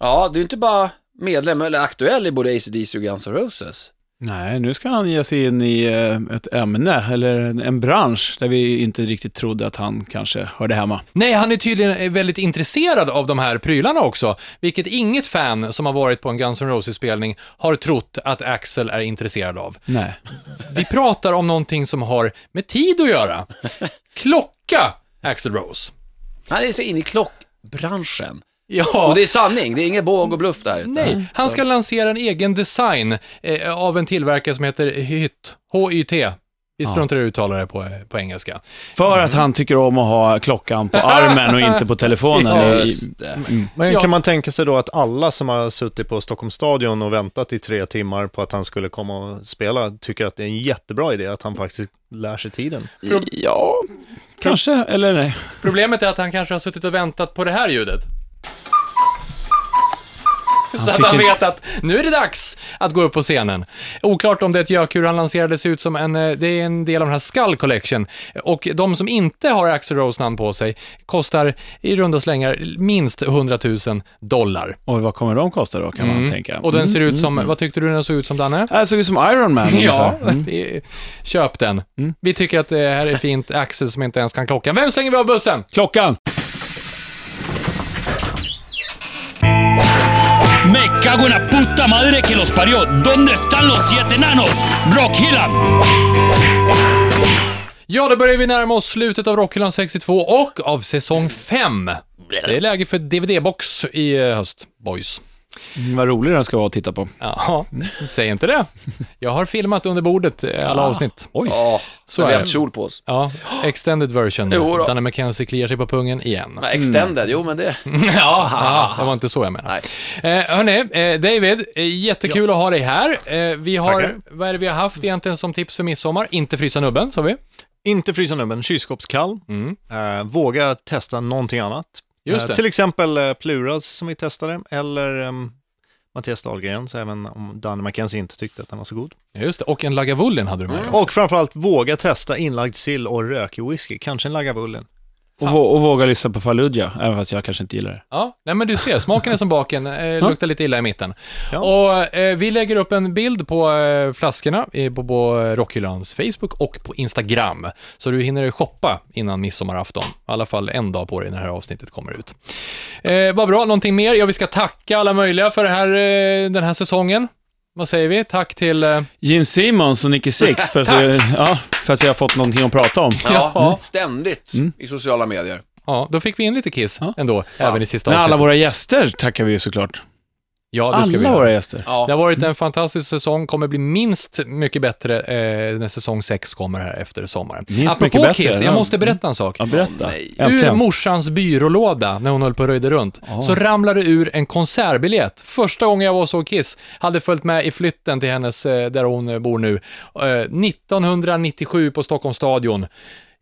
Ja, du är inte bara medlem eller aktuell i både ACDC och Guns N' Roses.
Nej, nu ska han ge sig in i eh, ett ämne, eller en, en bransch, där vi inte riktigt trodde att han kanske hörde hemma.
Nej, han är tydligen eh, väldigt intresserad av de här prylarna också, vilket inget fan som har varit på en Guns N' Roses-spelning har trott att Axel är intresserad av.
Nej.
Vi pratar om någonting som har med tid att göra. Klocka, Axel Rose.
Han är så in i klockbranschen.
Ja.
Och det är sanning, det är ingen båg och bluff där. utan-
Nej, han ska lansera en egen design eh, av en tillverkare som heter HYT. H-Y-T. Vi struntar i att uttala det på, eh, på engelska.
För att han tycker om att ha klockan på armen och inte på telefonen.
Ja,
I-
Just det.
Men
Ja.
kan man tänka sig då att alla som har suttit på Stockholmsstadion och väntat i tre timmar på att han skulle komma och spela tycker att det är en jättebra idé att han faktiskt lär sig tiden?
ja, kanske, eller nej.
Problemet är att han kanske har suttit och väntat på det här ljudet. så att han vet att nu är det dags att gå upp på scenen. Oklart om det är ett gökur han lanserade ser ut som en, eh, det är en del av den här Skull Collection. Och de som inte har Axl Rose namn på sig kostar i runda slängar minst 100 000 dollar.
Och vad kommer de kosta då, kan
Mm.
man tänka.
Och den ser ut som, vad tyckte du den såg ut som Danne?
Det såg ut som Iron Man
Ja,
ungefär. Mm.
det- köp den. Vi tycker att det här är fint. Axel som inte ens kan klockan. Vem slänger vi av bussen?
Klockan!
Me cago en la puta madre que los parió. ¿Dónde están los siete enanos? Rock Hillan.
Ja, då börjar vi närma oss slutet av Rockhyllan 62 och av säsong 5. Det är läge för DVD-box i eh, höst, boys.
Mm, Vad rolig den ska vara att titta på.
Ja, säg inte det. Jag har filmat under bordet eh, alla avsnitt. Oj.
Ja,
Så
men vi
är
har
det.
haft kjol på oss.
Ja, extended version.
Jo då.
Danne McKenzie kliar sig på pungen igen.
Men extended, jo men det...
Mm. Ja, ja, det var inte så jag menade. Eh, hörni, eh, David, eh, jättekul att ha dig här. Eh, vi har, vad är det vi har haft egentligen som tips för midsommar? Inte frysa nubben, sa vi.
Inte frysa nubben, kylskåpskall. Eh, våga testa någonting annat.
Just det.
till exempel eh, Pluras som vi testade, eller ehm, Mattias Dahlgrens, även om Danne McKenzie inte tyckte att den var så god.
Just det, och en Lagavulin hade du med dig.
Och framförallt våga testa inlagd sill och rökig whisky, kanske en Lagavulin.
Och, vå- och våga lyssna på Fallujah, även fast jag kanske inte gillar det.
Ja, nej men du ser, smaken är som baken, eh, luktar lite illa i mitten.
Ja.
Och eh, vi lägger upp en bild på eh, flaskorna eh, på, på Rockhyllans Facebook och på Instagram. Så du hinner shoppa innan midsommarafton. I alla fall en dag på dig när det här avsnittet kommer ut. Eh, vad bra, någonting mer? Ja, vi ska tacka alla möjliga för det här, eh, den här säsongen. Vad säger vi? Tack till... Eh,
Gene Simmons och Nicky Six, för att, vi, ja, för att vi har fått någonting att prata om.
Ja,
Ja. Mm.
ständigt i sociala medier.
ja, då fick vi in lite Kiss ändå, även i sista
Men alla
avsnittet.
våra gäster tackar vi ju såklart.
Ja, det ska vi
Alla
göra.
våra gäster.
Det
Ja,
har varit en fantastisk säsong, kommer bli minst mycket bättre eh, när säsong 6 kommer här efter sommaren.
Minst
Apropå
mycket bättre,
Kiss, jag
ja. Mm.
måste berätta en sak.
Ja, berätta.
nej.
Ur
Äntligen.
morsans byrålåda, när hon höll på och röjde runt, så ramlade ur en konsertbiljett. Första gången jag var och såg Kiss, hade följt med i flytten till hennes, eh, där hon eh, bor nu, eh, 1997 på Stockholms stadion.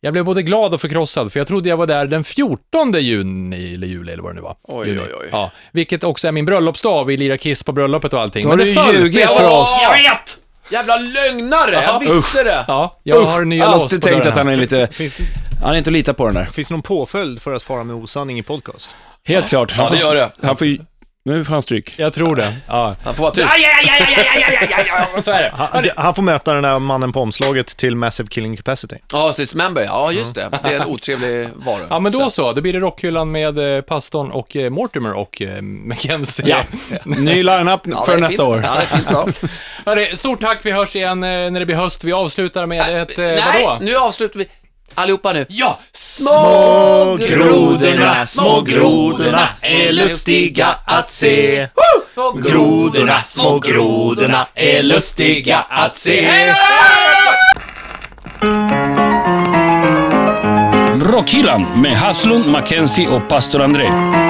Jag blev både glad och förkrossad, för jag trodde jag var där den 14 juni, eller juli, eller vad det nu var.
Oj,
Juni.
oj, oj.
Ja, vilket också är min bröllopsdag, vi lirar Kiss på bröllopet och allting.
Då har
Men
du
det föll, för
ljugit
jag
för
var-
oss.
Jag vet!
Jävla lögnare! Jag visste det!
Ja, jag har nya lås på
Alltid tänkt
dörren
att han
här.
är lite... Han är inte att lita på den där.
Finns det någon påföljd för att fara med osanning i podcast?
Helt klart. Han
Ja, det gör
får,
det.
han får, ju- nu får han stryk.
Jag tror det. Ja.
Han får vara tyst.
Så är det.
Han, han får möta den där mannen på omslaget till Massive Killing Capacity.
Ja, Sis Member, ja just det. Det är en otrevlig vara.
Ja, men då så. Då blir det rockhyllan med eh, pastorn och eh, Mortimer och eh, McKenzie.
Ja. Ny line-up
Ja, det
för
är
nästa
fint.
år.
Ja, det är fint bra.
Hörri, stort tack. Vi hörs igen eh, när det blir höst. Vi avslutar med ett... Eh,
Äh, Nej,
vadå?
nu avslutar vi. Allihopa nu.
Ja!
Små
grodorna, små grodorna
är lustiga att
se.
Små
Grodorna, små grodorna är lustiga att se.
Rock Hillan med Haslund, Mackenzie och pastor André.